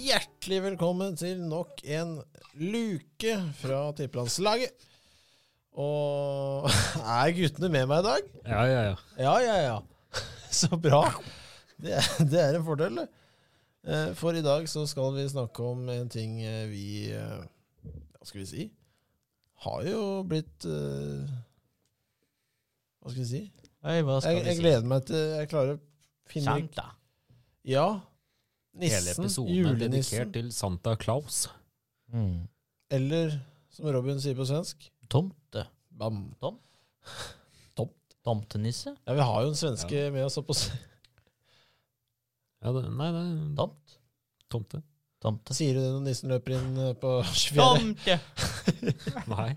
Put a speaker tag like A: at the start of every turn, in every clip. A: Hjertelig velkommen til nok en luke fra tippelandslaget. Og er guttene med meg i dag?
B: Ja, ja, ja.
A: Ja, ja, ja. Så bra. Det, er- det er en fordel, det. Eh, For i dag så skal vi snakke om en ting eh, vi eh, Hva skal vi si? Har jo blitt eh, Hva skal vi si?
B: Nei, hva skal
A: Jeg, jeg
B: vi si?
A: gleder meg til jeg klarer å finne
B: Santa.
A: Ja.
B: Hele
A: Nissen.
B: episoden er
A: Julenissen.
B: dedikert til Santa Claus.
C: Mm.
A: Eller som Robin sier på svensk
C: Tomte.
A: Bam.
C: Tomtenisse.
A: Ja, vi har jo en svenske med oss oppe på s-
B: Ja, det, nei, det er
C: Tomt.
B: tomte.
C: Tomte.
A: Sier du det når nissen løper inn eh, på 24?
C: Tomte!
B: Nei.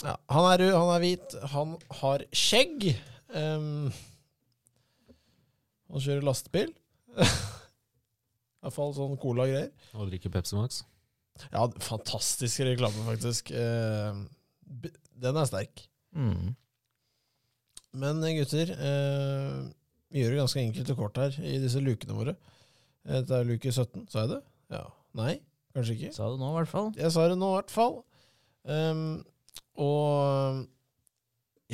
A: Ja, han er rød, han er hvit, han har skjegg. ehm, han kjører lastebil. I hvert fall sånn cola-greier.
B: Å drikke Pepsi Max.
A: Ja, fantastisk reklame, faktisk. Ehm, b- den er sterk.
C: Mm.
A: Men eh, gutter, eh, vi gjør det ganske enkelt og kort her i disse lukene våre. Eh, Dette er luke 17, sa jeg det? Ja. Nei, kanskje ikke.
C: Sa du nå, i hvert fall.
A: Jeg sa det nå, i hvert fall. Ehm, og eh,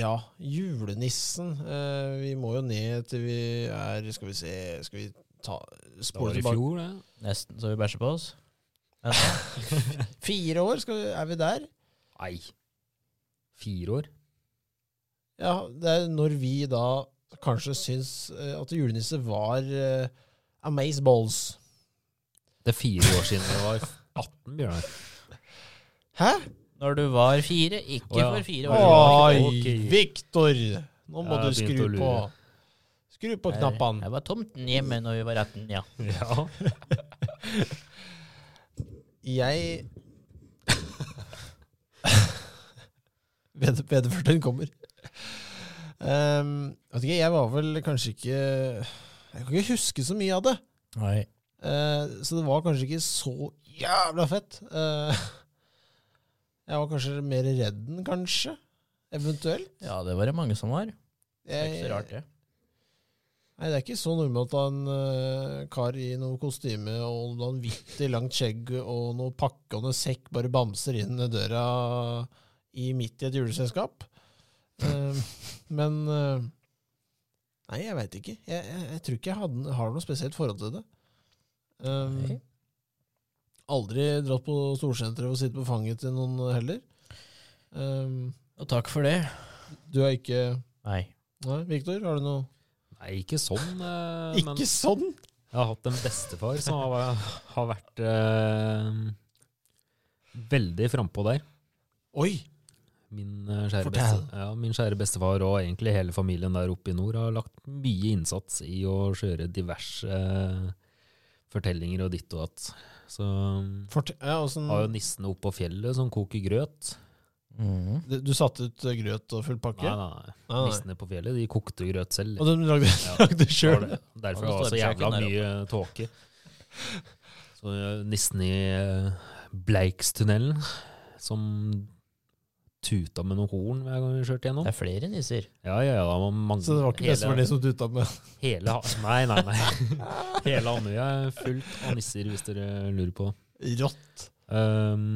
A: ja, julenissen. eh, vi må jo ned til vi er Skal vi se Skal vi ta
B: Det var
A: spole
B: i
A: tilbake?
B: fjor, det.
C: Nesten så vi bæsjer på oss. Men
A: Fire år? Skal vi, er vi der?
B: Nei. Fire år.
A: Ja, det er når vi da kanskje syns eh, at julenisse var uh, Amaze Balls.
B: Det er fire år siden jeg var 18, Bjørnar.
A: Hæ?
C: når du var fire, ikke
B: Å, ja.
C: for fire år
A: Oi,
B: Ok.
A: Victor! Nå må
B: Jeg
A: du
B: begynte
A: skru
B: å lure.
A: på Skru på
C: Jeg-
A: knappene.
C: Jeg var tomten hjemme når vi var 18, ja.
B: Ja.
A: Jeg Ved ved før den kommer. Ehm, vet ikke, jeg var vel kanskje ikke Jeg kan ikke huske så mye av det.
C: Nei.
A: Eh, så det var kanskje ikke så jævla fett. Eh, jeg var kanskje mer redd den, kanskje. Eventuelt.
C: Ja, det var det mange som var. Det er ikke
A: Jeg-
C: så rart, det.
A: Nei, Det er ikke så normalt å ha en eh, kar i noe kostyme og vanvittig langt skjegg og noe pakke og noe sekk bare bamser inn døra i midt i et juleselskap. Eh, men eh, Nei, jeg veit ikke. Jeg, jeg, jeg tror ikke jeg hadde, har noe spesielt forhold til det. Eh,
C: Nei.
A: aldri dratt på storsenteret og sittet på fanget til noen heller. Eh,
C: Og takk for det.
A: du er ikke
C: Nei.
A: Nei, Viktor, har du noe
B: Nei, ikke sånn. eh, Men
A: Ikke sånn!
B: jeg har hatt en bestefar som har, har vært eh, veldig frampå der.
A: Oi!
B: Min, eh, kjære
A: Fortell.
B: beste, ja, min kjære bestefar og egentlig hele familien der oppe i nord har lagt mye innsats i å kjøre diverse eh, fortellinger og ditt og datt. Så um,
A: Fortell, ja, åssen-
B: har jo nissene oppe på fjellet som koker grøt.
C: Mm.
A: Du, du satte ut eh, grøt og full pakke? Ah,
B: Nei, nei, nei.
A: Nei, nei.
B: Nissene på fjellet de kokte grøt selv.
A: Og de lagde,
B: Ja,
A: lagde det
B: Det var
A: sjøl?
B: det. Derfor
C: Ja, det
B: var det så
C: står
B: jævla
C: kjøkken
B: mye tåke. Så eh, nissen i eh, Bleikstunnelen som tuta med noen horn hver gang vi kjørte gjennom.
C: Det er flere nisser.
B: Ja, ja, ja, det var mange,
A: Så det var ikke
B: hele-
A: bestefaren din som tuta med
B: Hele ha Nei, nei, nei. Hele Andøya er fullt av nisser, hvis dere lurer på.
A: rått?
B: Um,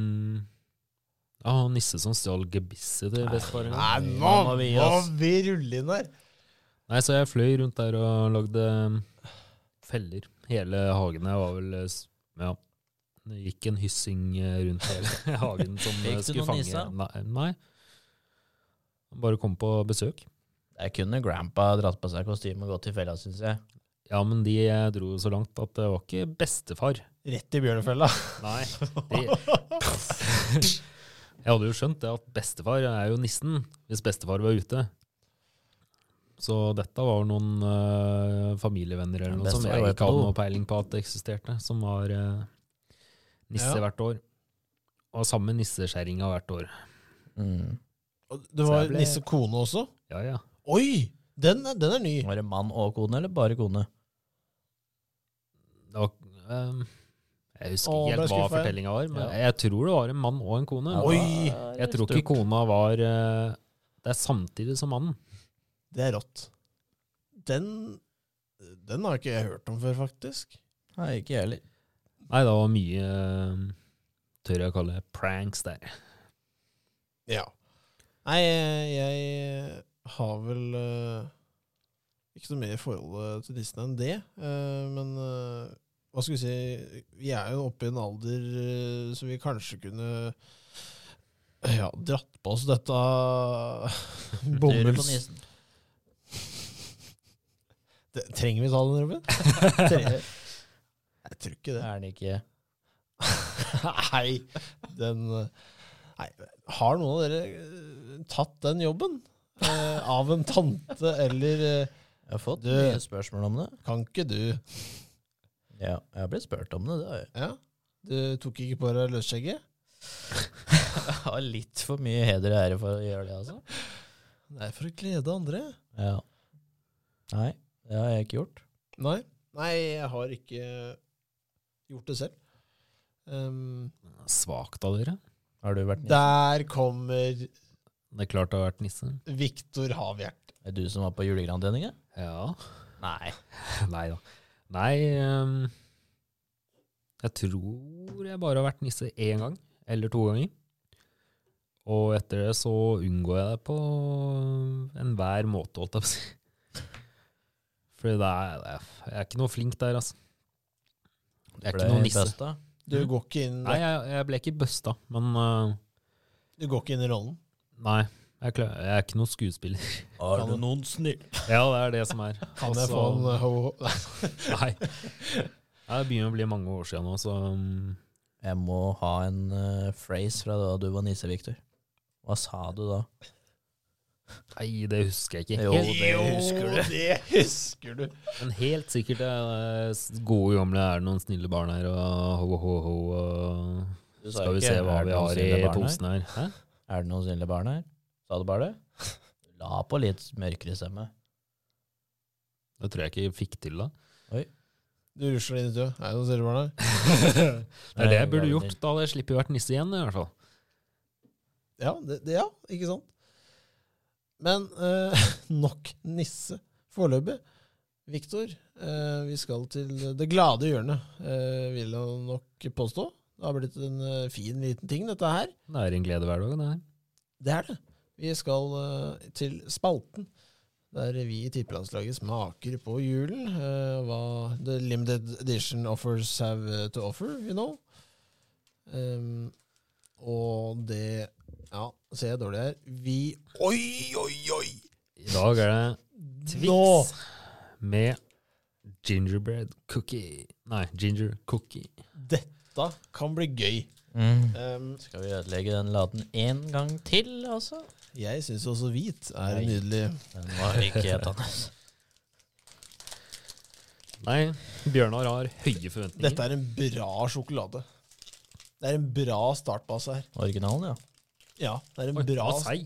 B: ja, han nisse som stjal gebisset til bestefar. en gang.
A: Nei, nå
C: nå
A: må
C: må
A: vi,
C: vi gi oss.
A: rulle inn der!
B: Nei, så jeg fløy rundt der og lagde um, feller. Hele hagen her var vel eh, s- Ja. Det gikk en hyssing eh, rundt hele hagen som eh,
C: Fikk du
B: skulle
C: noen
B: fange
C: nisser?
B: Nei, nei. Han Bare kom på besøk.
C: Der kunne grandpa dratt på seg kostyme og gått til fella, syns jeg.
B: Ja, men de eh, dro så langt at det var ikke bestefar.
A: Rett i bjørnefella.
B: Nei. De, jeg hadde jo skjønt det at bestefar er jo nissen, hvis bestefar var ute. Så dette var noen eh, familievenner eller noe som
C: Bestefar
B: jeg
C: var
B: ikke hadde
C: etterpå.
B: noe peiling på at det eksisterte, som var eh, nisse
A: Ja.
B: hvert år. Og samme nissekjerringa hvert år.
C: Mm.
A: Og Det
B: Så
A: var
B: jeg ble-
A: nisse kone også?
B: Ja, ja.
A: Oi! Den, er- den er ny.
C: Var det mann og kone, eller bare kone?
B: Det var, eh, jeg husker
A: Å,
B: ikke
A: ble
B: helt hva
A: skuffet, ja.
B: fortellinga var, men jeg tror det var en mann og en kone.
A: Ja, Oi.
C: da
B: jeg
C: er det
B: tror ikke kona var eh, Det er samtidig som mannen.
A: Det er rått. Den Den har ikke jeg hørt om før, faktisk.
C: Nei, ikke jeg heller.
B: Nei, det var mye eh, tør jeg å kalle pranks der.
A: Ja. Nei, eh, jeg har vel eh, ikke noe mer forhold til nissen enn det. eh, men eh, hva skal vi si Vi er jo oppe i en alder eh, så vi kanskje kunne eh, ja, dratt på oss dette
C: Dør på
A: bomulls...
C: nissen.
A: Det, trenger vi ta den, Ruben?
C: Tre-
A: Jeg tror ikke det.
C: Er den ikke
A: Nei, den Nei, har noen av dere eh, tatt den jobben? Eh, av en tante eller eh,
C: Jeg har fått
A: Du-
C: mye spørsmål om det.
A: Kan ikke du
C: Ja, jeg har blitt spurt om det. det har jeg.
A: Ja? Du tok ikke på deg løsskjegget?
C: jeg har litt for mye heder og ære for å gjøre det, altså.
A: Nei, for å glede andre.
C: Ja. Nei, det har jeg ikke gjort.
A: Nei, Nei jeg har ikke gjort det selv. Ehm,
B: Svakt av dere.
C: Har du vært nisse?
A: der kommer
B: Det er klart det har vært nisse.
A: Viktor Havhjert.
C: Er det du som var på julegrandeninga?
B: Ja.
C: Nei.
B: Nei da. Nei ehm, Jeg tror jeg bare har vært nisse én gang, eller to ganger. Og etter det så unngår jeg det på enhver måte, holdt jeg på å si. For det er, det er, jeg er ikke noe flink der, altså. Jeg er ikke noe nisse.
C: Besta.
A: Du går ikke inn,
B: Nei, jeg, jeg ble ikke busta, men øh,
A: du går ikke inn i rollen.
B: Nei. Jeg, klar, jeg er ikke noen skuespiller.
C: Er
A: det
C: noen snill?
B: Ja, det er det som er.
A: Kan jeg
B: Altså-
A: få en eh, ho-ho?
C: eh,
B: Nei. Nei, Det begynner å bli mange år siden nå, så um,
C: Jeg må ha en eh, phrase fra da du var nisse, Victor. Hva sa du da?
B: Nei, det husker jeg ikke.
C: Jo,
B: Helt,
C: det husker du.
A: det husker du.
B: men helt sikkert det er s- gode gamle er det noen snille barn her, og ho, ho, ho, og
C: du sa
B: Skal vi
C: ikke,
B: se
C: er
B: hva
C: det
B: vi
C: noen
B: har i
C: snille barn her?
B: posen her. Hæ?
C: Er det noen snille barn her? Sa du bare det? La på litt mørkere stemme.
B: Det tror jeg ikke jeg fikk til, da.
A: Du rusler inn i død. Er det noen silverbarn her?
B: Det er det jeg
C: Nei,
B: burde
C: det var
B: gjort. Da hadde jeg sluppet å vært nisse igjen, i hvert fall.
A: Ja, det, det, ja, ikke sant? Men eh, nok nisse foreløpig. Viktor, eh, vi skal til det glade hjørnet, eh, vil jeg nok påstå. Det har blitt en eh, fin liten ting, dette her.
B: Det er en glede hver dag, det her.
A: Det er det. Vi skal eh, til spalten, der vi i tippelandslaget smaker på julen. eh, hva the limited edition offers have eh, to offer, you know. Ehm, og det Ja, ser jeg dårlig her. Vi Oi, oi, oi!
B: I dag er det
A: Nå!
B: Twix med gingerbread cookie. Nei, ginger cookie.
A: Dette kan bli gøy. Ehm,
C: Skal vi ødelegge den laten én gang til, altså?
A: jeg syns også hvit er
C: Nei.
A: nydelig.
C: Den var ikke helt annerledes.
B: Nei, Bjørnar har høye forventninger.
A: Dette er en bra sjokolade. Det er en bra startbase her.
C: Originalen, ja.
A: Ja, det er en
B: Oi, den
A: bra
B: var seig.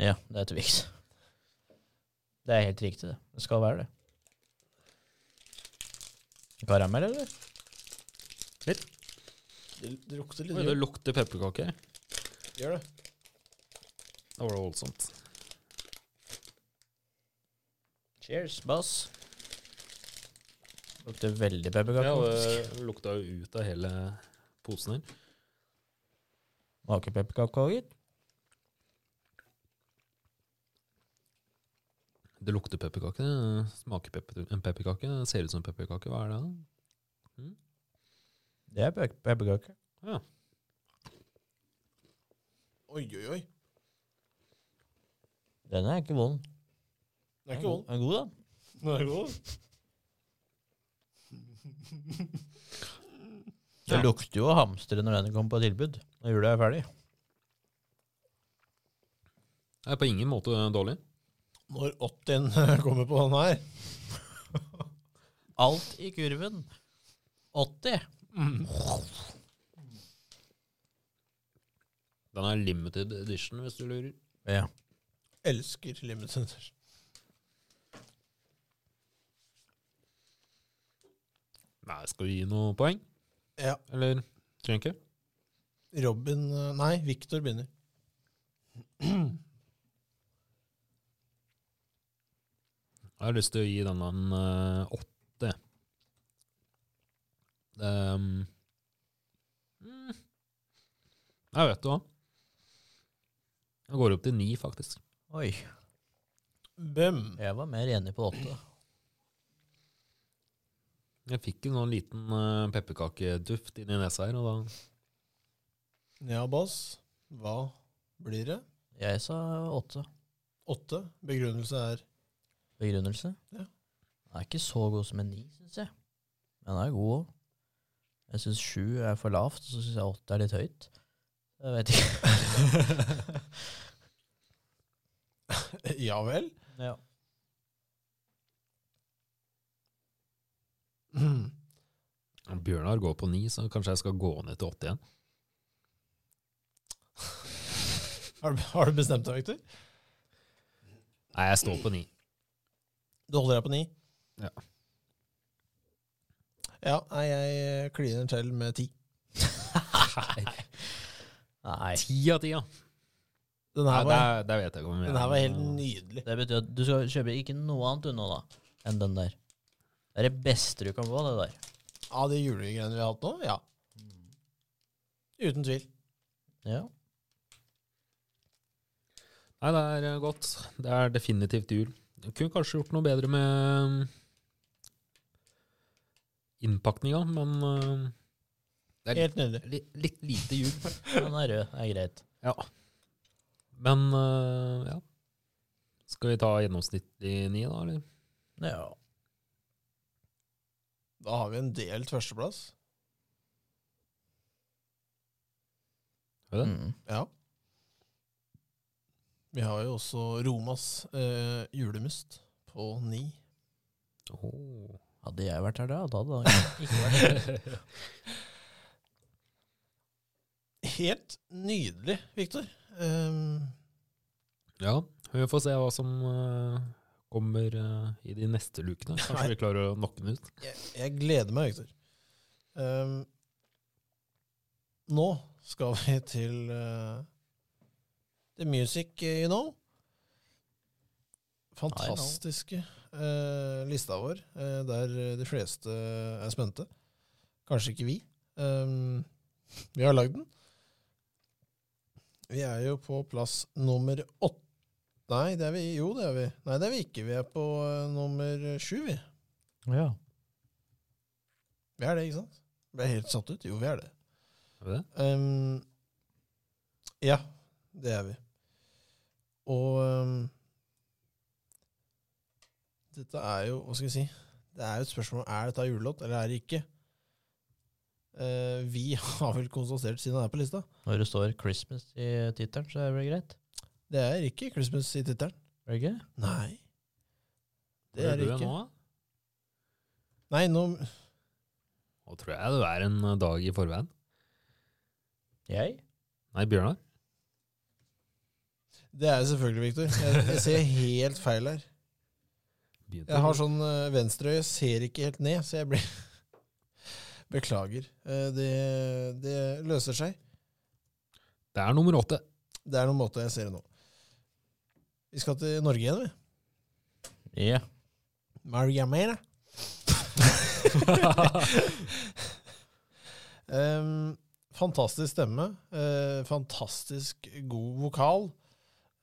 C: Ja, det er Twix. Det er helt riktig, det. Det skal være det. Karamell, eller?
A: Det, det lukter
B: Oi,
A: litt
B: det
A: jul.
B: lukter pepperkaker.
A: Gjør det.
B: Da var det voldsomt.
C: Cheers, boss. Lukter veldig pepperkake.
B: Ja,
C: faktisk.
B: det lukta jo ut av hele posen her.
C: Makepepperkake, gitt.
B: Det lukter pepperkake. det Smaker pepper, en pepperkake. det Ser ut som pepperkake. Hva er det? da?
C: Det er pe- pepperkake.
A: Oi, oi, oi.
C: Den er ikke vond.
A: Den er ikke vond.
C: Den er god, da.
A: Den er god.
C: Det
B: Ja.
C: lukter jo å hamstre når den kommer på tilbud. Når jula er ferdig.
B: Det er på ingen måte dårlig.
A: Når 80-en kommer på den her
C: Alt i kurven. 80.
A: Mm.
B: Den er limited edition, hvis du lurer.
C: Ja.
A: Elsker limited edition.
B: Nei, skal vi gi noe poeng?
A: Ja.
B: Eller trenger ikke?
A: Robin eh, Nei, Victor begynner.
B: Jeg har lyst til å gi denne en eh, åtte. Det, um, Jeg mm. vet du hva. Jeg går opp til ni, faktisk.
C: Oi.
A: Bøm.
C: Jeg var mer enig på åtte.
B: Jeg fikk en sånn liten uh, pepperkakeduft inni nesa her, og da
A: Ja, Bass. Hva blir det?
C: Jeg sa åtte.
A: Åtte. Begrunnelse er
C: Begrunnelse?
A: Ja.
C: Den er ikke så god som en ni, syns jeg. Men den er god òg. Jeg syns sju er for lavt, og så syns jeg åtte er litt høyt. Jeg vet ikke.
A: ja vel.
C: ja.
A: Mm.
B: Bjørnar går på ni, så kanskje jeg skal gå ned til åtte igjen.
A: Har du, har du bestemt deg, Victor?
B: Nei, jeg står på ni.
A: Du holder deg på ni?
B: Ja.
A: Ja, nei, jeg kliner til med ti.
C: Nei.
B: Ti av ti, ja.
A: Den
B: Nei,
A: her var,
B: der, der vet jeg ikke om jeg
A: den her var helt nydelig.
C: Det betyr at du skal kjøpe ikke noe annet unna da, enn den der. Det er det beste du kan få, det der.
A: Av de julegreiene vi har hatt nå? Ja. Uten tvil.
C: Ja.
B: Nei, det er eh, godt. Det er definitivt jul. Jeg kunne kanskje gjort noe bedre med eh, innpakninga, men eh, det er litt,
A: Helt nydelig.
B: litt, litt lite jul.
C: Den er rød. Det er greit.
B: Ja. Men eh, ja. Skal vi ta gjennomsnittlig ni, da, eller?
C: Ja.
A: Da har vi en delt førsteplass.
B: Har vi det?
C: Mm.
A: Ja. Vi har jo også Romas eh, julemust på ni.
B: Åh.
C: Hadde jeg vært her da, da hadde det ikke vært
A: Helt nydelig, Viktor. Um,
B: Ja, vi får se hva som eh, kommer eh, i de neste lukene. Kanskje
A: Nei.
B: vi klarer å nokke den ut.
A: Jeg, jeg gleder meg, Victor. Ehm, nå skal vi til eh, The Music eh, You Know. Fantastiske eh, lista vår, eh, der de fleste eh, er spente. Kanskje ikke vi. Ehm, vi har lagd den. Vi er jo på plass nummer åtte Nei, det er vi. Jo, det er vi. Nei, det er vi ikke. Vi er på eh, nummer sju, vi.
C: Ja.
A: Vi er det, ikke sant? Ble jeg helt satt ut? Jo, vi er det.
B: Har vi det?
A: Ehm, ja, det er vi. Og ehm, dette er jo Hva skal jeg si? Det er jo et spørsmål er dette julelåt eller er det ikke. Eh, vi har vel konstatert, siden det er på lista
C: Når det står 'Christmas' i tittelen, så er det vel greit?
A: Det er ikke Christmas i tittelen.
C: Er det ikke?
A: Nei. Det
B: Hører
A: er det
B: du
A: ikke.
B: Nå? da?
A: Nei, nå
B: nå tror jeg det er en eh, dag i forveien.
C: Jeg?
B: Nei, Bjørnar?
A: Det er det selvfølgelig, Victor. Jeg, jeg ser helt feil her.
B: Begynte
A: Jeg har sånn eh, venstreøye, jeg ser ikke helt ned, så jeg blir Beklager. Eh, Det, det løser seg.
B: Det er nummer åtte.
A: Det er noen måter jeg ser det nå. Vi skal til Norge igjen, vi.
C: Ja.
A: Mariamera. um, fantastisk stemme. eh, fantastisk god vokal.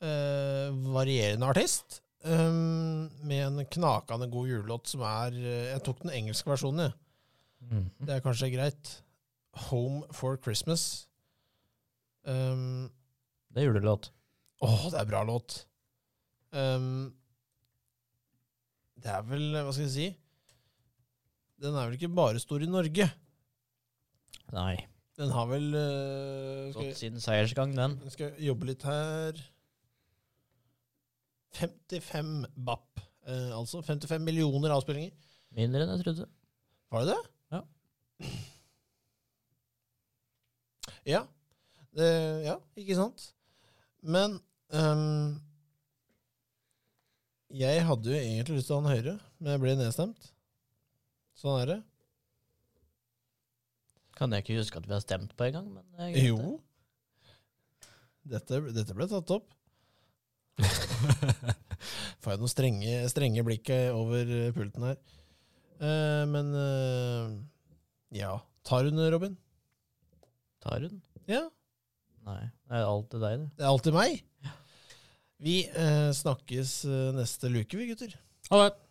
A: eh, varierende artist. Um, med en knakende god julelåt som er eh, Jeg tok den engelske versjonen, jeg.
C: Mm.
A: Det er kanskje greit. Home for Christmas. Um,
C: Det er julelåt.
A: åh, det er bra låt. Um, det er vel, hva skal jeg si Den er vel ikke bare stor i Norge.
C: Nei.
A: Den har vel eh, skal,
C: Stått siden seiersgang, den.
A: jeg, skal jeg jobbe litt her 55 BAP. eh, altså 55 millioner avspillinger.
C: Mindre enn jeg trodde.
A: Var det det?
C: Ja.
A: Ja. Det, ja, ikke sant? Men ehm, Jeg hadde jo egentlig lyst til å ha den høyere, men jeg ble nedstemt. Sånn er det.
C: Kan jeg ikke huske at vi har stemt på engang, men det er greit, det.
A: Jo. Dette, dette ble tatt opp. Får jeg noen strenge, strenge blikk over eh, pulten her. Eh, men eh, ja. Tar hun, Robin?
C: Tar hun?
A: Ja.
C: Nei. Det er alt til deg, det.
A: Det er alltid meg. Vi eh, snakkes eh, neste luke, vi gutter.
B: Ha det.